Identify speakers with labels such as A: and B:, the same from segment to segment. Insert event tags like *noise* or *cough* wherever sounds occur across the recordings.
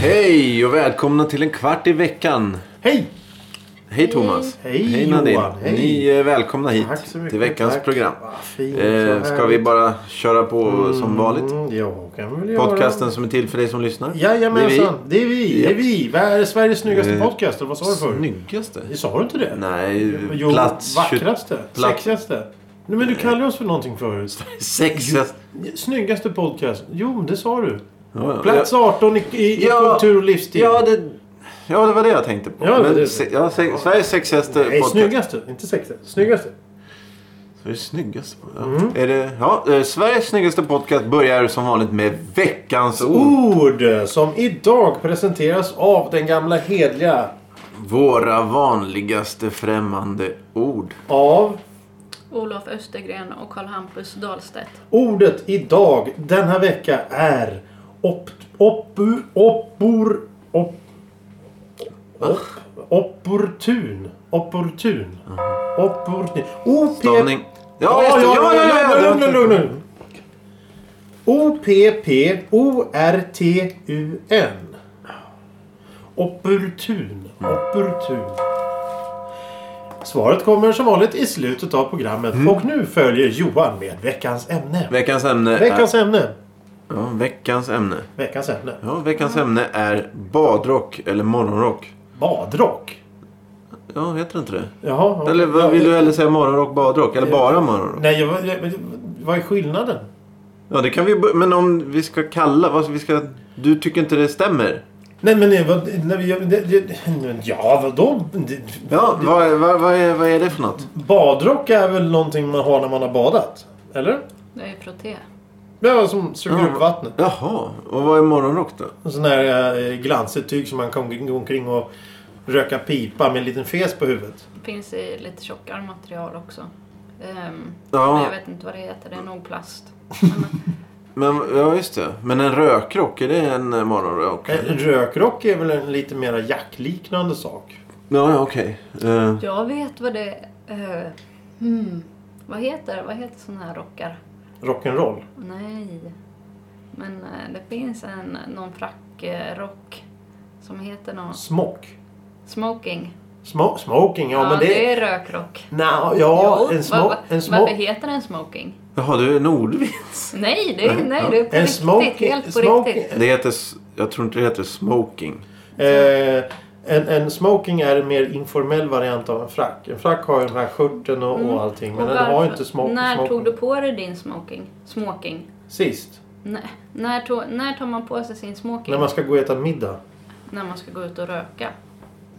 A: Hej och välkomna till en kvart i veckan.
B: Hej!
A: Hej Thomas.
B: Hej,
A: Nadine.
B: Johan. Hej.
A: Ni är välkomna hit
B: Tack så mycket,
A: till veckans
B: tack.
A: program.
B: Vad fint,
A: Eh,
B: så
A: ska
B: härligt.
A: vi bara köra på som vanligt?
B: Mm, ja, kan vi väl göra.
A: Podcasten som är till för dig som lyssnar.
B: Jajamensan,
A: Det
B: det är vi. Det är
A: Japp.
B: vi. Vad är Sveriges snyggaste
A: Eh,
B: podcast? Vad sa
A: är
B: du
A: vi.
B: förr?
A: Snyggaste?
B: Sa du inte det?
A: Nej,
B: Jo,
A: plats
B: vackraste.
A: plats-
B: Sexigaste. Nej, men du kallade oss för någonting
A: *laughs*
B: förut.
A: 26.
B: Snyggaste podcast. Jo, men det sa du.
A: Ja, ja.
B: Plats 18 i, i, i
A: Ja.
B: kultur och livsstil.
A: Ja, det, ja, det var det jag tänkte på.
B: Ja, det-
A: Men
B: det-
A: se, ja, se, Sveriges sexigaste
B: Nej,
A: podcast.
B: snyggaste. Inte sexigaste. Snyggaste.
A: Det är snyggaste. Ja.
B: Mm.
A: Är det, ja, eh, Sveriges snyggaste podcast börjar som vanligt med veckans ord.
B: Ord som idag presenteras av den gamla hedliga
A: Våra vanligaste främmande ord.
B: av
C: Olof Östergren och Karl Hampus Dahlstedt.
B: Ordet idag, denna vecka, är op, opu, opor, op, op, opportun. Opportun. Opportun. OP...
A: Stavning. Ja, just det. Ja, ja, ja. ja,
B: lugn, lugn, lugn, lugn. O-P-P-O-R-T-U-N. Opportun.
A: Mm.
B: Opportun. Svaret kommer som vanligt i slutet av programmet.
A: Mm.
B: Och nu följer Johan med veckans ämne.
A: Veckans ämne.
B: Veckans ämne.
A: Är, ja, veckans ämne.
B: Veckans ämne.
A: Ja, veckans ämne är badrock eller morgonrock.
B: Badrock.
A: Ja, heter inte det?
B: Jaha. okej.
A: Eller vad
B: Ja,
A: vill du
B: eh,
A: hellre säga morgonrock, badrock? Eller bara morgonrock?
B: Nej, jag, jag, jag, vad är skillnaden?
A: Ja, det kan vi bör- Men om vi ska kalla... Vad vi ska, du tycker inte det stämmer?
B: Nej, men... eh, vad- Nej, men jag- det- det- ja, vadå? Det-
A: Ja, vad, vad, vad, är, vad är det för något?
B: Badrock är väl någonting man har när man har badat? Eller?
C: Det är ju proté.
B: Ja, som suger
A: Ja.
B: upp vattnet.
A: Jaha, och vad är morgonrock då?
B: En sån där eh, glansigt tyg som man kan gå omkring och röka pipa med en liten fes på huvudet.
C: Det finns i lite tjockare material också. Ehm,
A: Ja.
C: men Jag vet inte vad det heter. Det är nog plast. Men,
A: Men, ja, just det. Men en rökrock, är det en eh, morgonrock?
B: Eh, Rökrock är väl en lite mera jackliknande sak.
A: Ja, ja, okej. Eh,
C: jag vet vad det... eh, hmm. Vad heter det? Vad heter såna här rockar?
B: Rock'n'roll.
C: Nej. Men eh, det finns en, någon frackrock som heter någon...
B: Smock.
C: Smoking.
B: Smo- smoking, ja,
C: Ja,
B: men
C: det...
B: det...
C: är rökrock.
B: Nja, ja, en, smo-
C: vad-
B: en,
C: Varför
B: smo-
C: heter den smoking?
A: Jaha, du är nordvits.
C: Nej, det är, nej, det är på
B: En
C: riktigt.
B: smoking-
C: Helt på
B: smoking-
C: riktigt.
A: Det heter... s- Jag tror inte det heter smoking.
B: eh, en, en smoking är en mer informell variant av en frack. En frack har ju den här skjorten och, och allting. Men
C: Mm. Och
B: den har ju
C: varför-
B: inte smoking.
C: När
B: smoking.
C: tog du på dig din smoking? Smoking?
B: Sist.
C: Nej. När, tog, när tar man på sig sin smoking?
B: När man ska gå och äta middag.
C: När man ska gå ut och röka?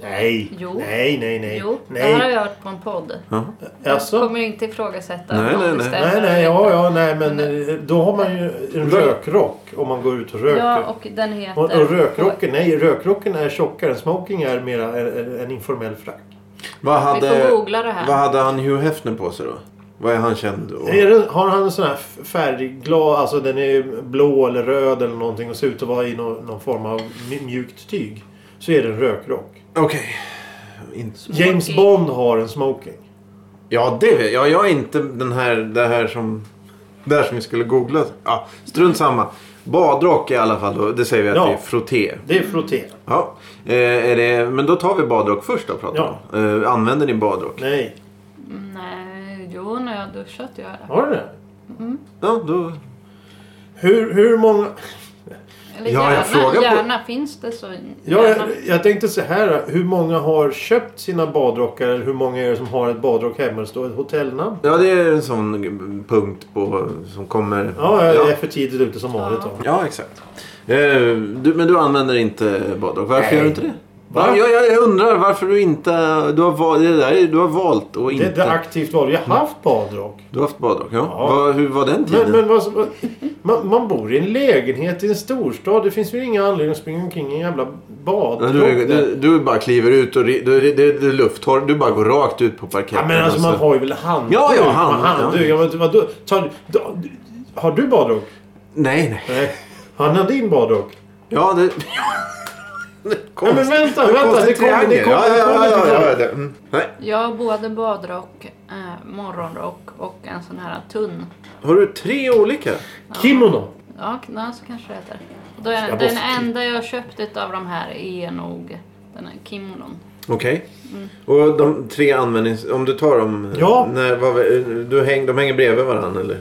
B: Nej.
C: Jo.
B: Nej, nej, nej.
C: Jo, det här har
B: nej.
C: jag hört på en podd.
A: Jaha.
C: Jag
B: Alltså,
C: kommer inte ifrågasätta
A: Nej,
C: om
A: nej,
C: det
A: nej.
C: stämmer
B: nej, nej,
C: eller
B: ja,
C: inte.
B: ja, nej, men eh, då har man ju en rökrock om man går ut och röker.
C: Ja, och den heter...
B: och, och rökrocken, nej, rökrocken är tjockare. Smoking är mera en, en- en informell frack.
A: Vad hade,
C: får googla det här.
A: Vad hade han Hugh Hefner på sig då? Vad är han känd då?
B: Är det, har han en sån här f- färgglad, alltså den är blå eller röd eller någonting och ser ut att vara i någon, någon form av mj- mjukt tyg. Så är det en rökrock.
A: Okej. Inte-
B: James Bond har en smoking.
A: Ja, det vet jag. Jag är inte den här, det här som... Där som vi skulle googla. Ja, strunt samma. Badrock i alla fall. Då. Det säger vi att
B: Ja.
A: det är frotté.
B: Det är frotté.
A: Ja. Eh, är det, men då tar vi badrock först och pratar
B: Ja.
A: om. Eh, använder ni badrock?
B: Nej.
C: Nej, jo, när jag har duschat gör jag det.
B: Har du det?
A: Ja, då...
B: Hur, hur många...
C: Eller
A: Ja, jag
C: gärna,
A: frågar på-
C: gärna. Finns det så...
B: Ja,
C: gärna.
B: jag, jag tänkte så här. Hur många har köpt sina badrockar? Eller hur många är det som har ett badrock hemma? Det står ett hotellnamn.
A: Ja, det är en sån punkt på, som kommer...
B: Ja, jag är
A: ja.
B: för tidigt ute som vanligt. då.
A: Ja, exakt. Eh, du, men du använder inte badrock. Varför
B: Nej.
A: gör du inte det?
B: Va?
A: Va? Jag, jag undrar varför du inte... Du har, val, det där, är- du har valt och
B: Det
A: inte...
B: är ett aktivt val. Jag har haft badrock.
A: Du har haft badrock, ja.
B: Ja.
A: Va, hur var den tiden?
B: Men, men vad, vad, man, man bor i en lägenhet i en storstad. Det finns väl ingen anledning att springa omkring i en jävla
A: Ja,
B: badrock.
A: du, är-
B: där.
A: du, du bara kliver ut och ri- du, det, det, det är lufttorr. Du bara går rakt ut på parketten.
B: ja, men alltså man har ju väl handduk?
A: Ja, ja,
B: Man
A: hand-
B: handduk.
A: ja.
B: Ja. men vadå? Tar du- har du badrock?
A: Nej, nej.
B: Nej. Han har din badrock.
A: Ja, det... *laughs* det är
B: Ja, men
A: konst-
B: vänta,
A: det är
B: vänta. Det
A: konstigt
B: kommer, det
A: triangel.
B: kommer,
A: Ja,
B: det
A: ja,
B: kommer.
A: ja, ja, ja,
B: till-
A: ja, det- mm. Nej.
C: Jag har både badrock, eh, morgonrock och en sån här tunn.
A: Har du tre olika?
B: Kimono.
C: Ja, k- nej, så kanske det heter. Och då är,
B: Jag
C: den
B: måste- typ-
C: enda jag har köpt utav de här är nog den här kimonon.
A: Okej. Och de tre användnings... Om du tar dem...
B: Ja.
A: När, vad, du häng, de hänger bredvid varandra eller?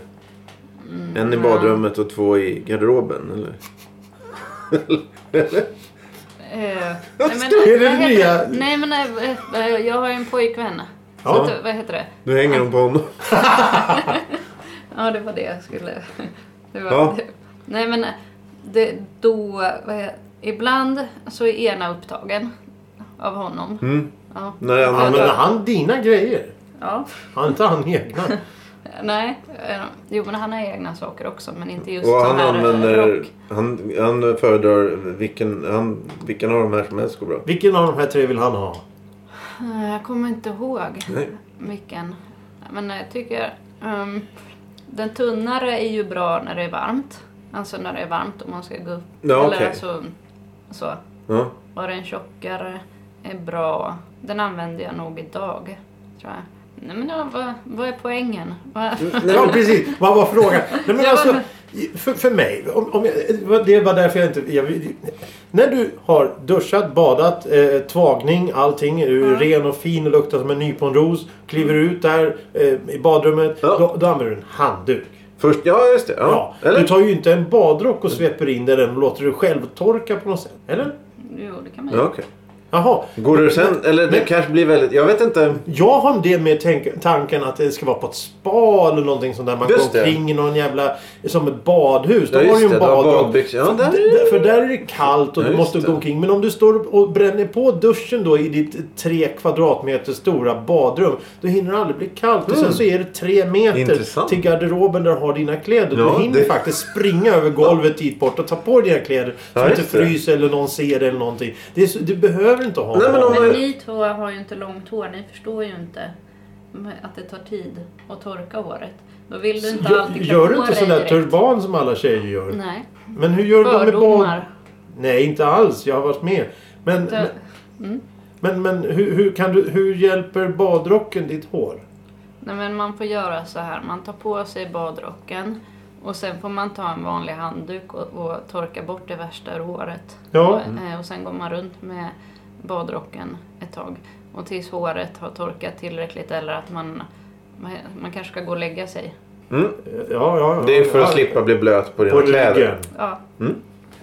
A: en i
C: Mm, ja.
A: badrummet och två i garderoben eller?
C: Eh, nej, men,
B: är det
C: vad heter
B: nya?
C: det? Nej men eh, eh, jag har ju en pojkvän.
B: Ja.
C: Så att, eh, vad heter det?
A: Du hänger dem på honom.
C: Ja, det var det jag skulle... *laughs* Det var,
A: Ja.
C: *laughs* Nej, men eh, det, då... Vad he- ibland så är ena upptagen av honom.
A: Mm.
C: Ja.
A: När den
B: Använder
A: andra...
B: han dina grejer?
C: ja.
B: Han inte han egna?
C: Nej. eh, Jo, men han har egna saker också, men inte *laughs* just
A: Och
C: sån
A: han
C: här eh,
A: använder...
C: rock.
A: Han, han föredrar vilken... Han, vilken av de här som helst går bra.
B: Vilken av de här tre vill han ha?
C: Eh, Jag kommer inte ihåg
A: Nej.
C: vilken. Men jag tycker... ehm, den tunnare är ju bra när det är varmt. Alltså när det är varmt och man ska gå upp.
A: Ja, okej.
C: Eller alltså, så.
A: Ja.
C: Och den tjockare är bra. Den använder jag nog idag. Tror jag. Nej men ja, vad, vad är poängen? Vad-
B: Ja, precis. Vad var frågan? Nej, men
C: Ja,
B: alltså,
C: men-
B: för, för mig, om, om jag, det var därför jag inte... Jag, när du har duschat, badat, eh, tvagning, allting. Är du ren och fin och luktar som en nyponros. Kliver du ut där eh, i badrummet.
A: Ja.
B: Då, då använder du en handduk.
A: Först... Ja, just det. Ja.
B: Ja,
A: Eller?
B: Du tar ju inte en badrock och sveper in där den och låter dig själv torka på något sätt. Eller?
C: Jo, det kan man ju.
A: Ja, okej.
B: Jaha.
A: Går du sen... Eller det
B: Men-
A: kanske blir väldigt... Jag vet inte.
B: Jag har det med tänk- tanken att det ska vara på ett spa eller någonting sånt där. Man
A: Just
B: går
A: det.
B: omkring i någon jävla... Som ett badhus.
A: Ja,
B: Då har
A: just
B: du ju en
A: det. Du har
B: badrock.
A: badbyxor. Ja,
B: För-
A: där är
B: d- För där är det kallt och
A: Ja,
B: du
A: just
B: måste
A: det.
B: gå omkring. Men om du står och bränner på duschen då i ditt tre kvadratmeter stora badrum. Då hinner det aldrig bli kallt. Och sen
A: Mm.
B: så är det tre meter
A: Intressant.
B: till garderoben där du har dina kläder.
A: Ja,
B: du hinner
A: det-
B: faktiskt springa över golvet dit bort och ta på dig dina kläder. Så
A: Ja,
B: du inte
A: just det.
B: fryser eller någon ser eller någonting. Det är så, du behöver inte ha
A: Nej, men om-
C: Men ni två har ju inte långt hår. Ni förstår ju inte att det tar tid att torka håret. Då vill du inte alltid klä
B: Gör du
C: på
B: inte
C: dig
B: sån där
C: direkt.
B: turban som alla tjejer gör?
C: Nej,
B: Men hur gör du med bad?
C: fördomar.
B: Nej, inte alls. Jag har varit med. Men, men,
C: Du- Mm.
B: men, men hur, hur, kan du, hur hjälper badrocken ditt hår?
C: Nej, men man får göra så här. Man tar på sig badrocken och sen får man ta en vanlig handduk och, och torka bort det värsta ur håret.
B: Ja.
C: Och,
A: Mm.
C: eh, och sen går man runt med badrocken ett tag och tills håret har torkat tillräckligt eller att man, man, man kanske ska gå och lägga sig.
A: Mm.
B: Ja, ja, ja.
A: Det är för att
B: ja.
A: slippa bli blöt på dina
B: På
A: kläder.
B: ryggen.
C: Ja.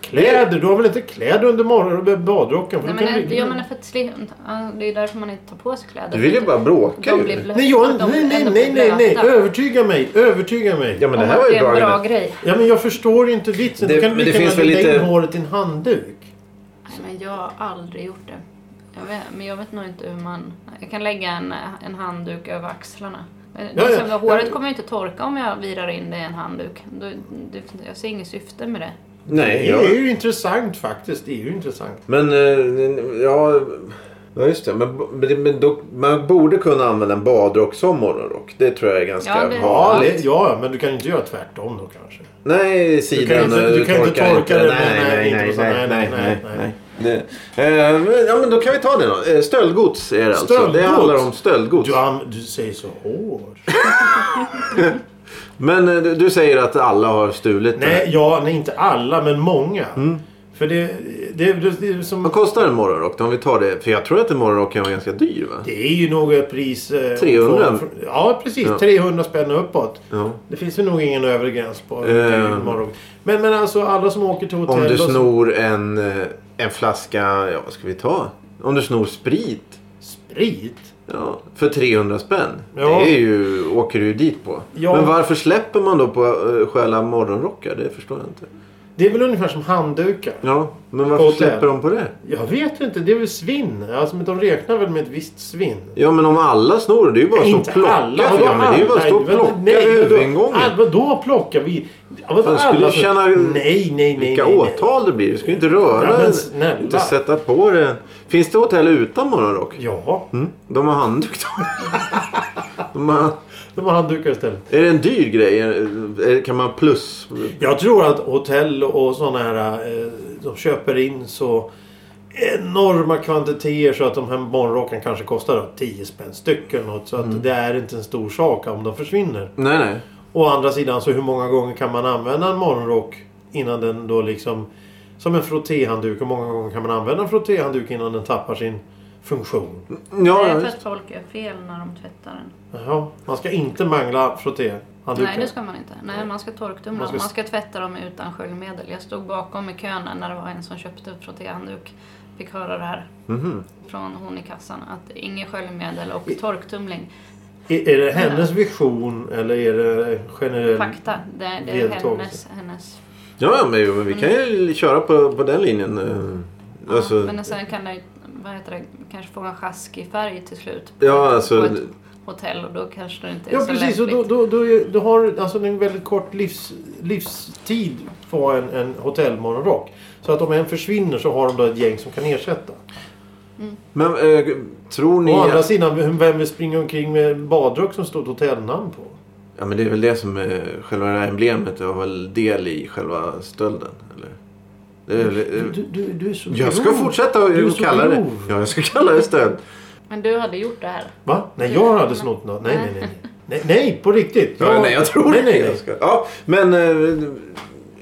B: Kläder? Du har väl inte kläder under morgon, badrocken? För
C: Nej,
B: då
C: men
B: kan
C: det,
B: du-
C: jag menar för att sli- ja, det är därför man inte tar på sig kläder.
A: Du vill ju bara bråka
C: de
A: ju.
C: blir blöta.
B: Nej, jag,
C: de
B: nej, nej,
C: ändå
B: nej,
C: blir
B: nej, nej.
C: blöta.
B: Övertyga mig. Övertyga mig.
A: Ja
B: Ja,
A: men det
C: Om
A: här
C: att
A: var ju
C: det är
A: bra.
C: en bra
A: Agnes.
C: grej.
B: men jag förstår inte vitsen.
A: Det-
B: då kan du
A: men det
B: lika
A: finns
B: gärna
A: väl
B: lägga
A: lite-
B: in håret i en handduk.
C: Nej, men jag har aldrig gjort det. Jag vet, men jag vet nog inte hur man... Jag kan lägga en, en handduk över axlarna. Men
B: Ja,
C: liksom,
B: ja.
C: Håret
B: Ja.
C: kommer ju inte torka om jag virar in det i en handduk. Då, det, jag ser inget syfte med det.
A: Nej,
B: Det är
A: ja.
B: ju intressant faktiskt. Det är ju intressant.
A: Men eh, ja... Ja just det. Men, men, men då, man borde kunna använda en badrock som morgonrock. Det tror jag är ganska
C: Ja, det-
B: Ja,
A: vanligt.
B: det, ja, men du kan ju inte göra tvärtom då kanske.
A: Nej,
B: Du kan
A: sidan
B: inte- du kan
A: eh,
B: inte torka den,
A: Nej,
B: nej,
A: nej,
B: inte
A: nej,
B: på
A: nej,
B: sådana-
A: nej,
B: nej,
A: nej, nej. Eh, men- Ja men då kan vi ta det då. Eh, Stöldgods är det alltså. Det
B: Stöldgods?
A: handlar om stöldgods.
B: Du, an- du säger så hårt.
A: Men eh, du, du säger att alla har stulit det
B: Nej,
A: här.
B: ja, nej, inte alla, men många.
A: Mm.
B: För det, det, det, det är som...
A: Vad kostar en morgonrock då, om vi tar det? För jag tror att en morgonrock kan vara ganska dyr va?
B: Det är ju något pris... Eh,
A: 300.
B: från- från- ja, precis.
A: Ja.
B: 300 spänn och uppåt.
A: Ja.
B: Det finns ju nog ingen övre gräns på
A: Ehm.
B: imorgon. Men, men alltså alla som åker till hotell...
A: Om du
B: och så-
A: snor en, eh, en flaska, ja vad ska vi ta? Om du snor sprit
B: Sprit?
A: ja, för 300 spänn.
B: Ja.
A: Det är ju, åker du ju dit på.
B: Ja.
A: Men varför släpper man då på att stjäla morgonrockar? Det förstår jag inte.
B: Det är väl ungefär som handdukar?
A: Ja, men varför
B: Hotell.
A: släpper de på det?
B: Jag vet inte. Det är väl svinn? Alltså, men de räknar väl med ett visst svinn?
A: Ja men om alla snor, det är ju bara att stå och plocka.
B: vadå
A: ja, men det är ju bara att stå och
B: alla?
A: plocka
B: Nej,
A: vid
B: vadå?
A: huvudingången.
B: Ah, Vadå plocka? Vi... Ja, vadå
A: Fan, skulle
B: alla
A: du
B: som-
A: känna
B: Nej, nej, nej.
A: Vilka
B: nej, nej.
A: åtal det blir. Du ska ju inte röra
B: Ja, men
A: den.
B: snälla.
A: Inte sätta på det. Finns det hotell utan morgonrock?
B: Ja.
A: Mm. *laughs* De har handduk. De har...
B: De har handdukar istället.
A: Är det en dyr grej? Är- är- Kan man plus?
B: Jag tror att hotell och sådana här eh, de köper in så enorma kvantiteter så att de här morgonrockarna kanske kostar då 10 spänn styck eller något. Så
A: Mm.
B: att det är inte en stor sak om de försvinner.
A: Nej, nej.
B: Å andra sidan så hur många gånger kan man använda en morgonrock innan den då liksom som en frottéhandduk. Hur många gånger kan man använda en frottéhandduk innan den tappar sin funktion?
A: Ja,
C: det
A: ja,
C: är för
A: visst.
C: att folk gör fel när de tvättar den.
B: Jaha, man ska inte mangla frottéhanddukar.
C: Nej, det ska man inte. Nej, man ska torktumla
B: Man
C: man
B: ska-
C: ska... man ska tvätta dem utan sköljmedel. Jag stod bakom i kön när det var en som köpte ut frottéhandduk. Fick höra det här
A: Mhm.
C: från hon i kassan att inget sköljmedel och torktumling.
B: Är, är det hennes vision eller är det generell...
C: Fakta. Det, det är
B: Vedertagelse.
C: hennes... hennes
A: ja ja, men, jo, men vi kan ju köra på, på den linjen.
B: Mm.
A: eh, Alltså,
C: Mm. ja, men sen kan det, ju- vad heter det kanske få en sjaskig färg till slut.
A: ja,
C: På
A: alltså
C: ett hotell och då kanske det inte är
B: Ja
C: så
B: precis, och
C: lämpligt.
B: då, då, då, är- då har alltså en väldigt kort livs, livstid på en, en hotellmorgonrock. Så att om en försvinner så har de då ett gäng som kan ersätta.
A: Men eh, tror ni...
B: Å andra sidan, vem- vem vill springa omkring med badrock som står ett hotellnamn på?
A: Ja men det är väl det som är själva det här emblemet har väl del i själva stölden? Eller? Det är väl,
B: Du, du, du, du är så
A: Eh, jag ska
B: grov.
A: fortsätta
B: Du är
A: att
B: så
A: kalla det.
B: grov.
A: Ja, jag ska kalla det stöld.
C: Men du hade gjort det här.
B: Va? Nej, jag hade snott något. Nej, nej, nej. Nej, nej på riktigt.
A: Ja, nej, jag tror
B: nej,
A: det.
B: nej,
A: Jag
B: nej.
A: ska- Ja, men eh,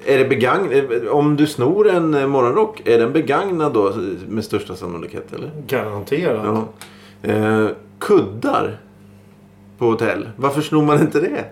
A: är det begagn... eh, Om du snor en eh, morgonrock, är den begagnad då med största sannolikhet? Eller?
B: Garanterat.
A: Ja. Eh, kuddar på hotell. Varför snor man inte det?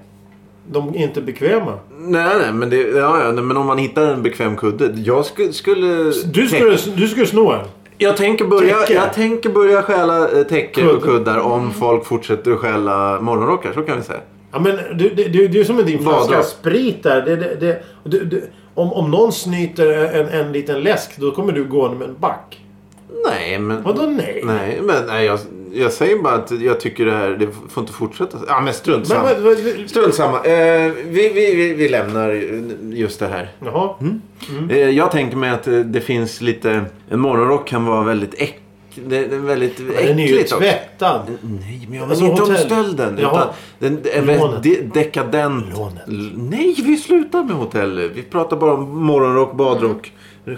B: De är inte bekväma.
A: Nej, nej, men, det, ja, ja, nej, men om man hittar en bekväm kudde. Jag skulle... skulle
B: Du skulle, du skulle sno en.
A: Jag tänker börja,
B: Täcke.
A: jag tänker börja stjäla eh, täcker och
B: Kuddar.
A: kuddar om folk fortsätter att stjäla morgonrockar. Så kan vi säga.
B: Ja, men du, du, du, du är som med din
A: Vadå?
B: flaska sprit där. Det, det, det, du, du, om, om någon snyter en, en liten läsk då kommer du gå med en back.
A: Nej, men...
B: Vadå nej?
A: Nej, men nej, jag, jag säger bara att jag tycker det här, det får inte fortsätta. Ja, men strunt
B: Men,
A: samma.
B: vad- vad- vad-
A: Strunt samma. Eh, vi, vi, vi, vi lämnar just det här.
B: Jaha.
A: Eh, jag tänker mig att eh, det finns lite... En morgonrock kan vara väldigt äck, det, det är väldigt
B: Men Den är ju
A: äckligt också.
B: tvättad.
A: Nej, men jag
B: Alltså,
A: menar inte om
B: hotell.
A: stölden.
B: Jaha.
A: Utan den, den, den,
B: Lånet.
A: de, dekadent.
B: Lånet.
A: L- Nej, vi slutar med hotell. Vi pratar bara om morgonrock, badrock.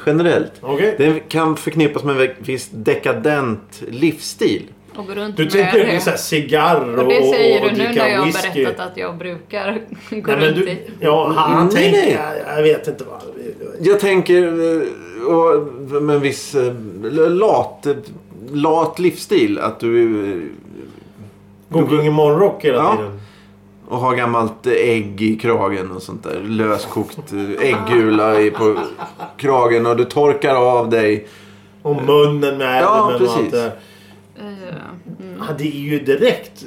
A: Generellt.
B: Okej.
A: Den kan förknippas med en viss dekadent livsstil.
C: Och gå runt
B: Du
C: med
B: tänker
C: det.
B: så här cigarr och,
C: Och det
B: och,
C: säger
B: och
C: du nu
B: dricka
C: när jag har
B: whisky.
C: berättat att jag brukar *laughs* gå
B: Nej, men
C: runt
B: du,
C: i...
B: ja, han
A: Nej,
B: tänker...
A: nej.
B: Jag, jag vet inte vad.
A: Jag tänker eh, och, med en viss eh, lat, lat livsstil. Att du eh,
B: Gå omkring i morgonrock hela
A: Ja.
B: tiden.
A: och har gammalt ägg i kragen och sånt där. Löskokt eh, ägggula i på kragen och du torkar av dig.
B: Och munnen med
A: Ja,
B: ärmen och allt
A: precis.
B: det där.
C: Eh, mm.
B: Ja, det är ju direkt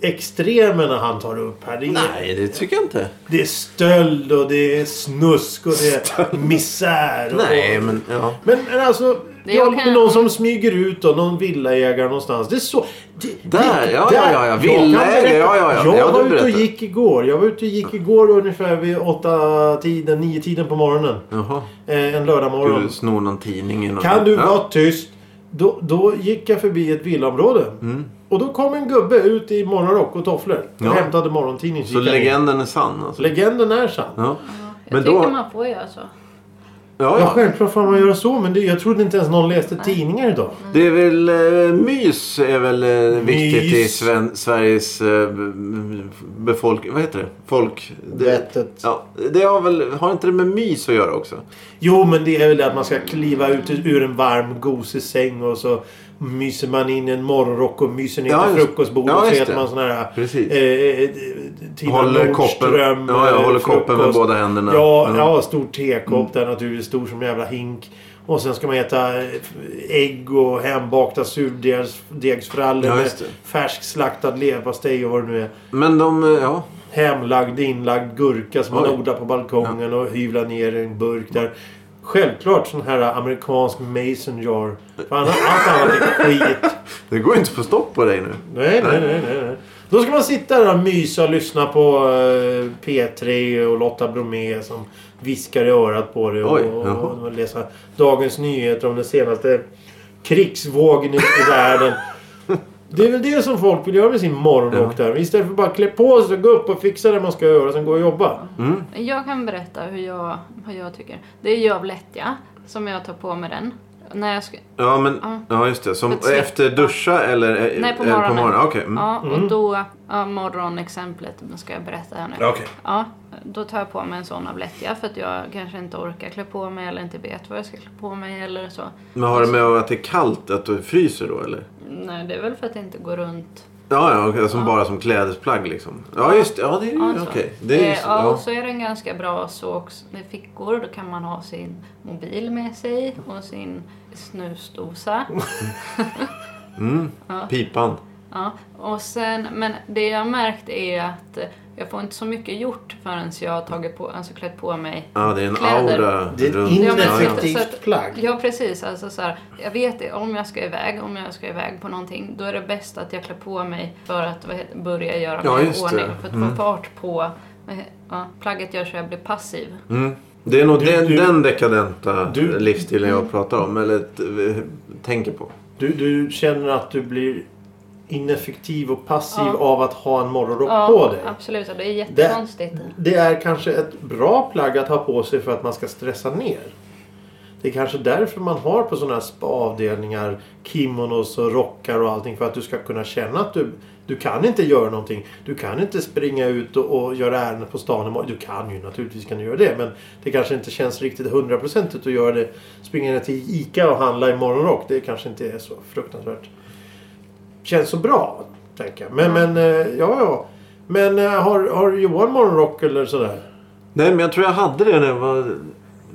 B: extremerna han tar upp här. Det är,
A: Nej, det tycker jag inte.
B: det är stöld och det är snusk och det är misär. Och
A: Nej, men ja.
B: Men, men alltså,
C: Det
B: jag
C: kan-
B: någon som smyger ut och någon villaägare någonstans. Det är så... Det,
A: Där,
B: det-
A: ja,
B: där.
A: ja, ja, ja.
B: Jag kan
A: Villaägare,
B: berätta.
A: ja, ja, ja.
B: Jag
A: Ja, du
B: var ute och
A: berättar.
B: gick igår. Jag var ute och gick igår ungefär vid åtta tiden, nio tiden på morgonen.
A: Jaha.
B: Eh, en lördagmorgon.
A: Du snor någon tidning eller något.
B: Kan du
A: ja.
B: vara tyst? Då, då gick jag förbi ett villaområde. Och då kom en gubbe ut i morgonrock och tofflor. Och
A: Mm. Ja.
B: hämtade morgontidningen.
A: Så
B: Gick jag in.
A: legenden är sann alltså?
B: Legenden är sann. Ja,
A: Ja.
C: Jag
A: Men
C: tycker
A: då...
C: man får göra så.
A: Ja, ja.
B: självklart får man göra så. Men det, jag trodde inte ens någon läste tidningar idag.
A: Det är väl... eh, mys är väl eh, viktigt i
B: Mys.
A: Sven- Sveriges eh, befolkning... Vad heter det? Folk... Det,
B: Vettet.
A: ja, det har väl... Har inte det med mys att göra också?
B: Jo, men det är väl det att man ska kliva ut ur en varm gosig säng och så myser man in en morgonrock och myser ner
A: Ja,
B: till
A: just-
B: frukostbordet.
A: ja,
B: så
A: just
B: äter
A: det.
B: man sån här...
A: Precis.
B: Eh, eh, Tina
A: Håller koppen,
B: Nordström,
A: ja, jag
B: eh,
A: håller koppen med
B: frukost.
A: båda händerna.
B: Ja,
A: Mm.
B: ja stor tekopp där naturligtvis. Stor som en jävla hink. Och sen ska man äta eh, ägg och hembakta surdegsfrallor
A: Ja,
B: med
A: just det.
B: färskslaktad leverpastej och vad det nu är.
A: Men de... eh, Ja.
B: Hemlagd, inlagd gurka som man
A: Oj.
B: odlar på balkongen och hyvlar ner i en burk där. Självklart sån här amerikansk mason jar. För annars, allt annat är skit.
A: Det går ju inte att få stopp på dig nu.
B: Nej, nej, nej, nej. nej. Då ska man sitta där och mysa och lyssna på eh, P3 och Lotta Bromé som viskar i örat på dig.
A: Oj,
B: Och,
A: jaha.
B: och, och läsa Dagens Nyheter om den senaste krigsvågen i, i världen. Det är väl det som folk vill göra med sin morgonrock där. Istället för bara klä på sig och gå upp och fixa det man ska göra och sen gå och jobba.
A: Mm.
C: Jag kan berätta hur jag, vad jag tycker. Det är ju av lättja som jag tar på mig den. När jag ska,
A: Ja, men...
C: Ja.
A: Ja, just det. Som
C: Ett snitt.
A: efter duscha eller... eh,
C: Nej, på
A: eller
C: morgonen.
A: På morgonen. Okej. Mm.
C: Ja,
B: Mm.
C: och då, ja, morgonexemplet ska jag berätta här nu.
A: Ja, okej.
C: Ja, då tar jag på mig en sån av lättja för att jag kanske inte orkar klä på mig eller inte vet vad jag ska klä på mig eller så.
A: Men har det med att det är kallt, att du fryser då eller?
C: Nej, det är väl för att jag inte går runt.
A: Ja, ja, okej, som bara som klädesplagg liksom. Ja, just det. Ja, det är ju
C: Ja,
A: Mm, okej.
C: så.
A: Det är ju
C: Eh,
A: så.
C: ja, och
A: Ja.
C: så är den ganska bra så också med fickor. Då kan man ha sin mobil med sig och sin snusdosa.
A: Mm.
C: Ja.
A: Pipan.
C: Ja, och sen, men det jag har märkt är att eh, jag får inte så mycket gjort förrän jag har tagit på, alltså klätt på mig.
A: Ja, det är en
C: Kläder.
A: aura
B: Det är ett
A: runt.
C: ineffektivt-
B: ineffektivt
C: Ja, ja.
B: plagg.
C: Ja precis, alltså så här, jag vet det, om jag ska iväg, om jag ska iväg på någonting, då är det bäst att jag klär på mig för att vad heter, börja göra
A: Ja,
C: mig i
A: just det.
C: ordning. För att
A: Mm.
C: få fart på vad he- ja, plagget gör så jag blir passiv.
A: Mm. Det är nog
B: Du-
A: den,
B: du-
A: den dekadenta
B: Du-
A: livsstilen
C: Mm.
A: jag pratar om. Eller t- tänker på.
B: Du, du känner att du blir ineffektiv och passiv
C: Ja.
B: av att ha en morgonrock på
C: Ja,
B: dig.
C: absolut. och Det är jättekonstigt.
B: Det är kanske ett bra plagg att ha på sig för att man ska stressa ner. Det är kanske därför man har på sådana här spaavdelningar kimonos och rockar och allting för att du ska kunna känna att du, du kan inte göra någonting. Du kan inte springa ut och, och göra ärenden på stan. imorgon. Du kan ju naturligtvis kan du göra det men det kanske inte känns riktigt hundraprocentigt att göra det. Springa ner till ICA och handla i morgonrock. Det kanske inte är så fruktansvärt. Känns så bra, tänker jag. Men, men eh, ja, ja. Men eh, har, har Johan morgonrock eller sådär?
A: Nej, men jag tror jag hade det när jag var,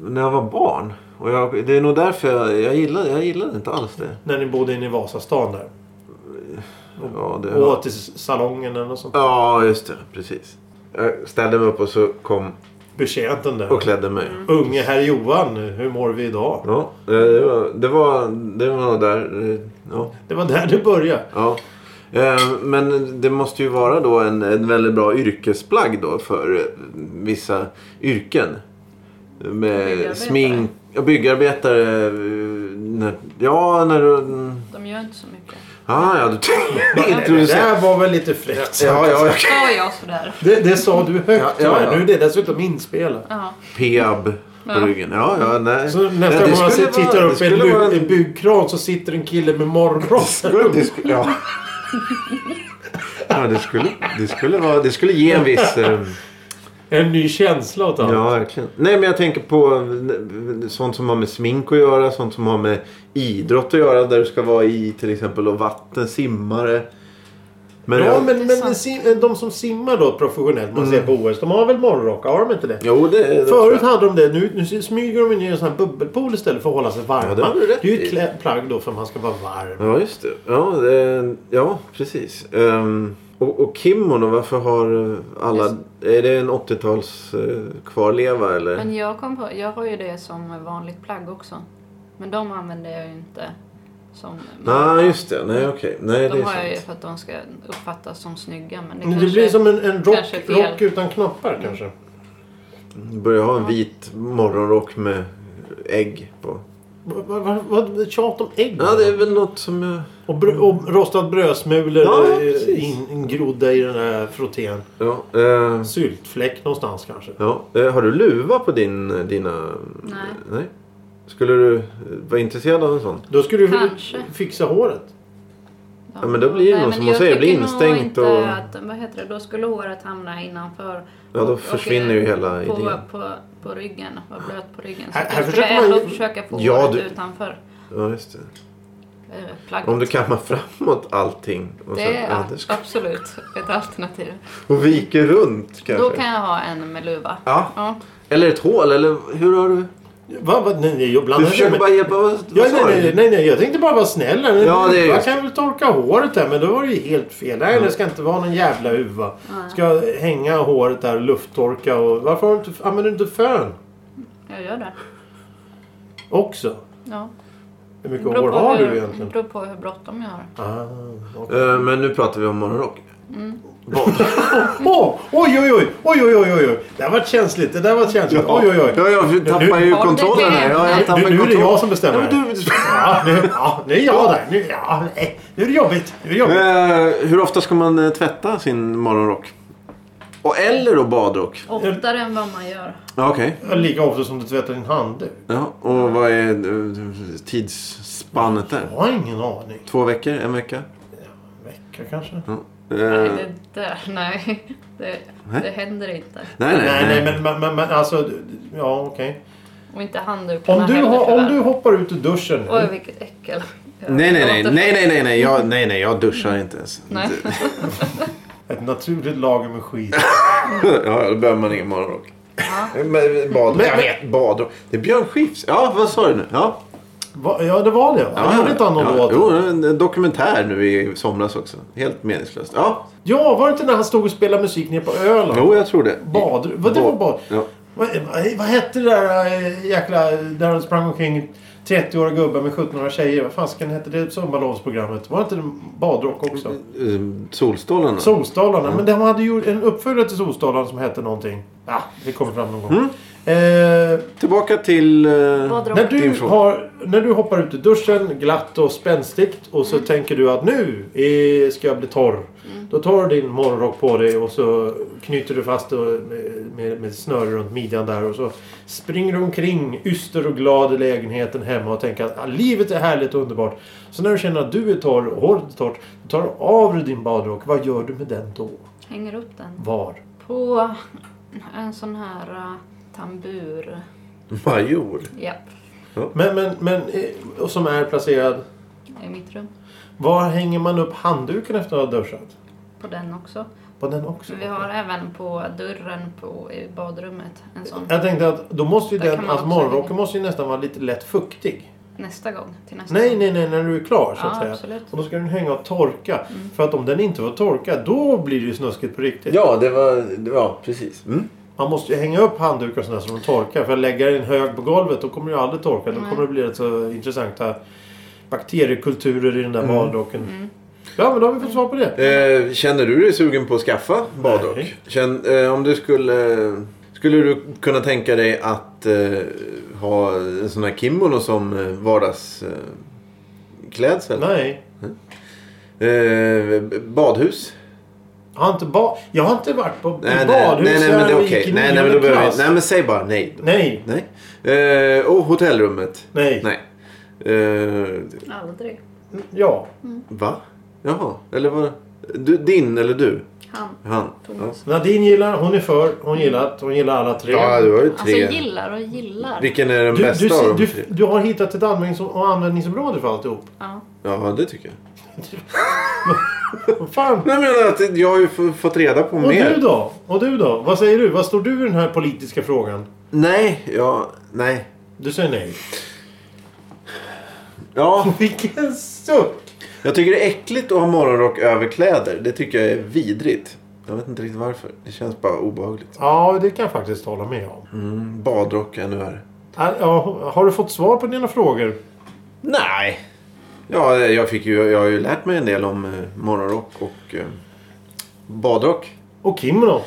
A: när jag var barn. Och jag, det är nog därför jag, jag, gillade, jag gillade inte alls det.
B: När ni bodde inne i Vasastan där.
A: Ja, det
B: Och åt i salongen eller något sånt.
A: ja just det. Precis. Jag ställde mig upp och så kom
B: Betjänten där.
A: och klädde mig.
C: Mm.
B: Unge herr Johan, hur mår vi idag?
A: Ja, eh, det var, det var, det var nog där. eh, Ja.
B: Det var där det började.
A: Ja. Eh, Men det måste ju vara då en, en väldigt bra yrkesplagg då för eh, vissa yrken.
C: Byggarbetare.
A: Med smink, ja, byggarbetare. eh, När, ja, när du... mm.
C: De gör inte så mycket.
A: Ah, ja, du *laughs*
B: Det
A: tänkte...
B: där var väl lite fräckt
A: Ja, ja, ja.
C: Sa jag sådär?
B: det, det sa du högt
A: Ja, ja,
B: tyvärr.
A: ja.
B: Nu är det dessutom inspelat.
C: Ja.
A: Peab på
C: Ja.
A: ryggen. Ja, ja, nej.
B: Så
A: Nej,
B: nästa
A: det
B: gång man
A: skulle
B: ser, tittar
A: vara-
B: upp i
A: det
B: en,
A: skulle
B: bygg,
A: vara en-
B: en byggkran så sitter en kille
A: *laughs*
B: med morgonrock.
A: Skulle, det, sk-
B: *laughs*
A: ja. Ja, det, skulle, det, skulle vara, det skulle ge en viss... eh,
B: En ny känsla åt allt.
A: Ja, verkligen. Nej, men jag tänker på eh, sånt som har med smink att göra, sånt som har med idrott att göra, där du ska vara i till exempel och vatten, simmare. Men
B: Ja,
A: jag,
B: men, men
C: Intressant.
B: sim- de som simmar då professionellt, man ser på OS, de har väl morgonrock? Har de inte det?
A: Jo, det, det tror
B: Förut
A: jag.
B: hade de det. Nu, nu smyger de ner i en sån här bubbelpool istället för att hålla sig varma.
A: Ja, det har du rätt
B: är ju
A: i.
B: ett klä- plagg då för att man ska vara varm.
A: Ja, just det. Ja, det, ja precis. Ehm, och, och kimono, varför har alla... Är det en 80-tals eh, kvarleva eller?
C: Men jag kom på, jag har ju det som vanligt plagg också. Men de använder jag ju inte som...
A: Nej, just det. Nej, okej. Nej, det
C: De
A: är
C: har jag ju
A: sant.
C: för att de ska uppfattas som snygga. Men det,
B: Men det
C: kanske...
B: blir som en, en rock,
C: kanske är fel.
B: rock utan knoppar
A: Mm.
B: kanske.
A: Börjar ha en vit morgonrock med ägg på.
B: Vad va, va, vad- tjat om ägg?
A: Ja, det är väl något som jag...
B: och, br- och rostad brödsmulor
A: Ja,
B: eh,
A: precis.
B: in- ingrodda i den där frottén.
A: Ja, eh,
B: Syltfläck någonstans kanske.
A: Ja, eh, har du luva på din, eh, dina...
C: Nej.
A: Nej. Skulle du eh, vara intresserad av en sån?
B: Då skulle du väl
C: Kanske.
B: fixa håret.
A: Ja, men då blir det nog
C: men
A: som hon
C: jag
A: säger, det blir
C: tycker nog
A: instängt
C: inte
A: och-
C: Att, vad heter det, då skulle håret hamna innanför.
A: Ja, då
C: och- eh,
A: försvinner ju hela
C: på,
A: idén.
C: På, på ryggen, vara blöt på ryggen. Så
B: Här-
C: här,
B: här försöker
C: försöker
B: man
C: man
B: ju-
C: försöka få
A: Ja,
C: håret
A: du-
C: utanför
A: Ja, just det.
C: eh, plagget.
A: Om du kammar framåt allting. Och,
C: det
A: sen,
C: är
A: ja, det ska,
C: absolut ett alternativ.
A: och viker runt kanske.
C: Då kan jag ha en med luva.
A: Ja.
C: Ja.
A: Eller ett hål, eller hur har du?
B: Va, va, nej, nej, jag blandar
A: Du
B: det
A: försöker
B: med-
A: bara hjälpa... Vad, vad
B: Ja,
A: sa
B: nej, nej,
A: du?
B: nej, nej, jag tänkte bara vara snäll här.
A: Ja, det är
B: jag
A: just-
B: kan väl torka håret där, men då var det ju helt fel. Nej, det ska inte vara någon jävla huva. Ska jag hänga håret där och lufttorka och... Varför har du inte, använder du inte fön
C: Jag gör det.
B: också?
C: Ja.
B: Hur mycket hår har du egentligen?
C: beror på hur bråttom jag har.
B: Ah, okej.
A: Eh, Men nu pratar vi om morgonrock. Vad?
B: Åh! Oj, oj, oj! Oj, oj, oj, oj! oj. Det där var känsligt. Det där var känsligt. Oj, oj, oj.
A: Ja, jag tappar
B: Nu-
A: ju
C: Ja, det-
A: kontrollen här. Ja,
C: Nu-
A: jag tappar
B: Nu, nu är det
A: kontrollen.
B: jag som bestämmer.
A: Ja, men du...
B: Ja, nu, ja, nu är jag där. Nu, ja, nej. nu är det jobbigt. Nu är det jobbigt.
A: Eh, hur ofta ska man eh, tvätta sin morgonrock? Och eller då badrock?
C: Oftare än vad man gör.
A: Ja, Okej.
B: Lika ofta som du tvättar din handduk.
A: Ja, och vad är eh, tidsspannet där?
B: Jag har ingen aning.
A: Två veckor? En vecka?
B: En vecka kanske?
A: Eh,
C: Nej,
A: nej,
C: det där, nej. *laughs* Det,
A: Nej.
C: det händer inte.
A: nej,
B: Nej, nej,
A: nej.
B: men, men, men, men alltså... Ja, okej.
C: Och inte handdukarna
B: Om, du
C: heller
B: har- om
C: tyvärr.
B: du hoppar ut ur duschen nu.
C: Oj, vilket äckel.
A: Nej, nej, nej, nej, nej, nej, nej, jag, nej, nej, jag duschar inte ens.
C: Nej. *laughs*
B: Ett naturligt lager med skit.
A: *laughs* ja, då behöver man ingen morgonrock.
C: Ja.
A: *laughs* Men, badrock.
B: Men-
A: Jag vet, badrock. Det är Björn Skifs. Ja, vad sa du nu? Ja,
B: Va, ja, det var det va?
A: ja,
B: Gjorde inte han någon
A: ja,
B: låt?
A: Jo, en dokumentär nu i somras också. Helt meningslöst. Ja,
B: Ja, var det inte när han stod och spelade musik nere på Öland?
A: jo, jag tror det.
B: Bad, vad det var bad.
A: Ja.
B: Vad, vad, vad hette det där eh, jäkla... Där han sprang omkring 30-åriga gubbar med 17-åriga tjejer. Vad fasken hette det sommarlovsprogrammet? Var det inte en badrock också?
A: Eh, Solstolarna.
B: Solstolarna. Men de hade ju en uppföljare till Solstolarna som hette någonting. Ja, det kommer fram någon gång. Eh,
A: Tillbaka till... eh,
C: Badrock.
B: när,
A: Din
B: du
A: fråga.
B: har, när du hoppar ut ur duschen glatt och spänstigt och
C: Mm.
B: så tänker du att nu eh, ska jag bli torr. Då tar du din morgonrock på dig och så knyter du fast det med, med, med snöre runt midjan där och så springer du omkring yster och glad i lägenheten hemma och tänker att ah, livet är härligt och underbart. Så när du känner att du är torr och håret är torrt, då tar du av dig din badrock. Vad gör du med den då?
C: Hänger upp den.
B: Var?
C: På en sån här eh, tambur.
A: Major.
C: Japp,
B: Men, men, men, eh, och som är placerad,
C: i mitt rum.
B: var hänger man upp handduken efter att ha duschat?
C: På den också.
B: På den också?
C: Vi har även på dörren på, i badrummet. En sån.
B: Jag tänkte att då måste ju
C: Där
B: den,
C: kan man
B: alltså
C: också
B: morgonrocken
C: lägga.
B: måste ju nästan vara lite lätt fuktig.
C: Nästa gång. Till nästa
B: Nej,
C: gång.
B: nej, nej, när du är klar så att
C: Ja,
B: säga.
C: absolut. Mm.
B: Och då ska den hänga och torka. För att om den inte var torkad, då blir det ju snuskigt på riktigt.
A: Ja, det var... Ja, precis. Mm.
B: Man måste ju hänga upp handdukar och sådär så de torkar. För att lägga den i en hög på golvet, då kommer det ju aldrig torka. Då
C: Nej.
B: kommer det bli rätt så intressanta bakteriekulturer i den
A: Mm.
B: där badrocken.
C: Mm.
B: Ja, men då har vi fått svar på det.
A: Eh, känner du dig sugen på att skaffa badrock?
B: Nej.
A: Känn, eh, om du skulle... Skulle du kunna tänka dig att eh, ha en sån här kimono som eh, vardagsklädsel? Eh, klädsel?
B: Nej.
A: eh, b- badhus?
B: Jag har inte, ba- jag har inte varit på på
A: Nej,
B: badhus
A: nej, nej, men det
B: sedan
A: är
B: jag
A: okej.
B: gick i
A: Nej, nej, men
B: nionde
A: då behöver vi,
B: klass.
A: nej, men säg bara nej. då.
B: Nej,
A: nej. Eh, och hotellrummet?
B: nej.
A: Nej. Eh,
C: Aldrig.
B: Ja.
A: va? Jaha, eller vad? Du, din eller du?
C: Han.
A: Han? Ja.
C: Thomas.
B: Nadine gillar, hon är för, hon gillar att, hon gillar alla tre.
A: Ja, du har ju
C: Alltså
A: tre.
C: gillar och gillar.
A: Vilken är den
B: du,
A: bästa
B: du,
A: av dem?
B: du,
A: tre?
B: du, du har hittat ett användnings och användningsområde för alltihop.
C: Ja.
A: Ja, det tycker jag.
B: Vad
A: *laughs*
B: Fan.
A: Nej, men att jag har ju f- fått reda på
B: Och
A: mer.
B: du då? Och du då? Vad säger du? Vad står du i den här politiska frågan?
A: Nej, ja, nej.
B: Du säger nej.
A: *laughs* Ja,
B: Vilken suck!
A: jag tycker det är äckligt att ha morgonrock över kläder. Det tycker jag är vidrigt. Jag vet inte riktigt varför. Det känns bara obehagligt.
B: Ja, det kan jag faktiskt hålla med om.
A: Mm, badrock ännu värre.
B: Ja, ja, Har du fått svar på dina frågor?
A: Nej. Ja, jag, fick ju, jag har ju lärt mig en del om eh, morgonrock och eh, badrock.
B: Och kimono?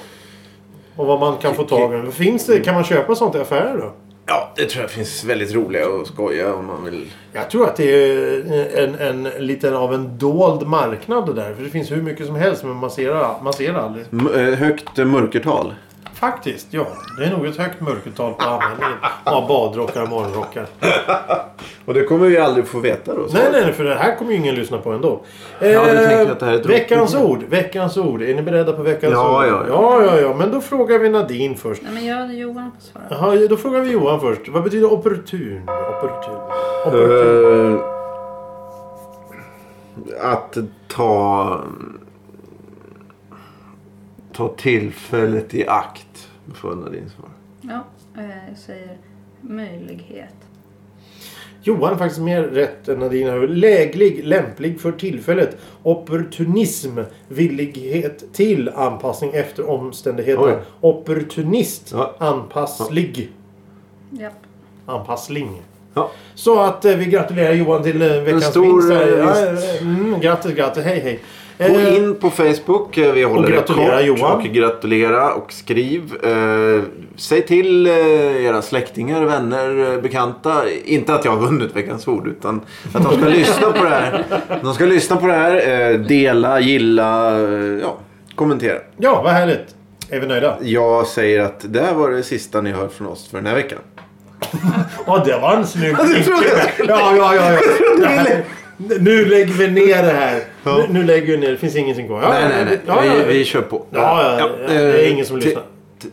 B: Och vad man kan få tag i? Finns det, kan man köpa sånt i affärer då?
A: Ja, det tror jag finns väldigt roliga och skoja om man vill.
B: Jag tror att det är en, en liten av en dold marknad det där. För det finns hur mycket som helst men man ser, man ser aldrig.
A: M- eh, högt eh, mörkertal.
B: Faktiskt, ja. Det är nog ett högt mörkertal på användningen av badrockar och morgonrockar.
A: Och det kommer vi aldrig få veta då. så.
B: Nej, nej, nej, för det här kommer ju ingen lyssna på ändå.
A: du
B: Eh,
A: tänker att det här är ett
B: veckans ord, veckans ord. Är ni beredda på veckans
A: Ja,
B: ord?
A: ja,
B: ja. Ja, ja, ja. Men då frågar vi Nadine först.
C: Nej, men jag och Johan får svara.
B: Jaha, då frågar vi Johan först. Vad betyder opportun? Opportun. opportun.
A: Eh, att ta... Ta tillfället i akt. För Nadine svar.
C: Ja, eh, jag säger möjlighet.
B: Johan har faktiskt mer rätt än Nadine. har. Läglig, lämplig för tillfället. Opportunism. Villighet till anpassning efter
A: Oj.
B: omständigheterna. Opportunist.
A: Ja.
B: Anpasslig.
C: Japp.
B: Anpassling.
A: Ja.
B: Så att eh, vi gratulerar Johan till eh, veckans
A: stor,
B: vinst.
A: eh,
B: här. Ja, eh, mm, grattis, grattis. Hej, hej.
A: Gå
B: Eh,
A: in på Facebook. eh, Vi håller
B: gratulera
A: det kort.
B: Johan.
A: Och gratulera och skriv. Eh, säg till eh, era släktingar, vänner, eh, bekanta. Inte att jag har vunnit Veckans Ord utan att de
B: *laughs*
A: ska lyssna på det här. De ska lyssna på det här. Eh, dela, gilla, eh, ja, kommentera.
B: Ja, vad härligt. Är vi nöjda?
A: Jag säger att det här var det sista ni hör från oss för den här veckan.
B: Ja, det var en snygg
A: du trodde *laughs* jag
B: nickel. Ja, ja, ja. ja.
A: du ville-
B: Nu- Nu lägger vi ner det här.
A: Ja.
B: Nu, nu lägger vi ner det. Det finns ingenting kvar. Ja,
A: nej, nej, nej.
B: Ja, ja,
A: vi, vi kör på. Eh,
B: Ja, ja, ja. Det är ingen som
A: ti-
B: lyssnar.
A: ti-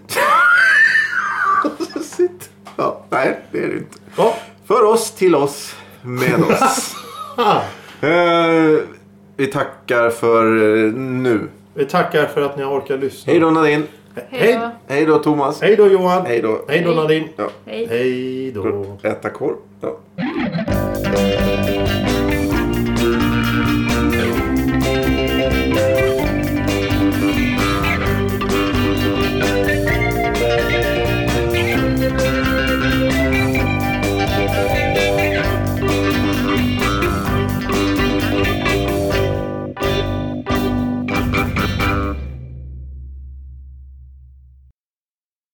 A: Sitt. *laughs* ja, nej, det är det inte.
B: ja.
A: För oss, till oss, med
B: *laughs*
A: oss.
B: Ah,
A: Eh, vi tackar för eh, nu.
B: vi tackar för att ni har orkat lyssna.
A: Hej då Nadine.
C: Hej då.
A: Hej då Thomas.
B: Hej då Johan.
A: Hej då.
B: Hej då Nadine.
A: Ja.
C: Hej.
B: Hej då.
A: Äta korv. Ja.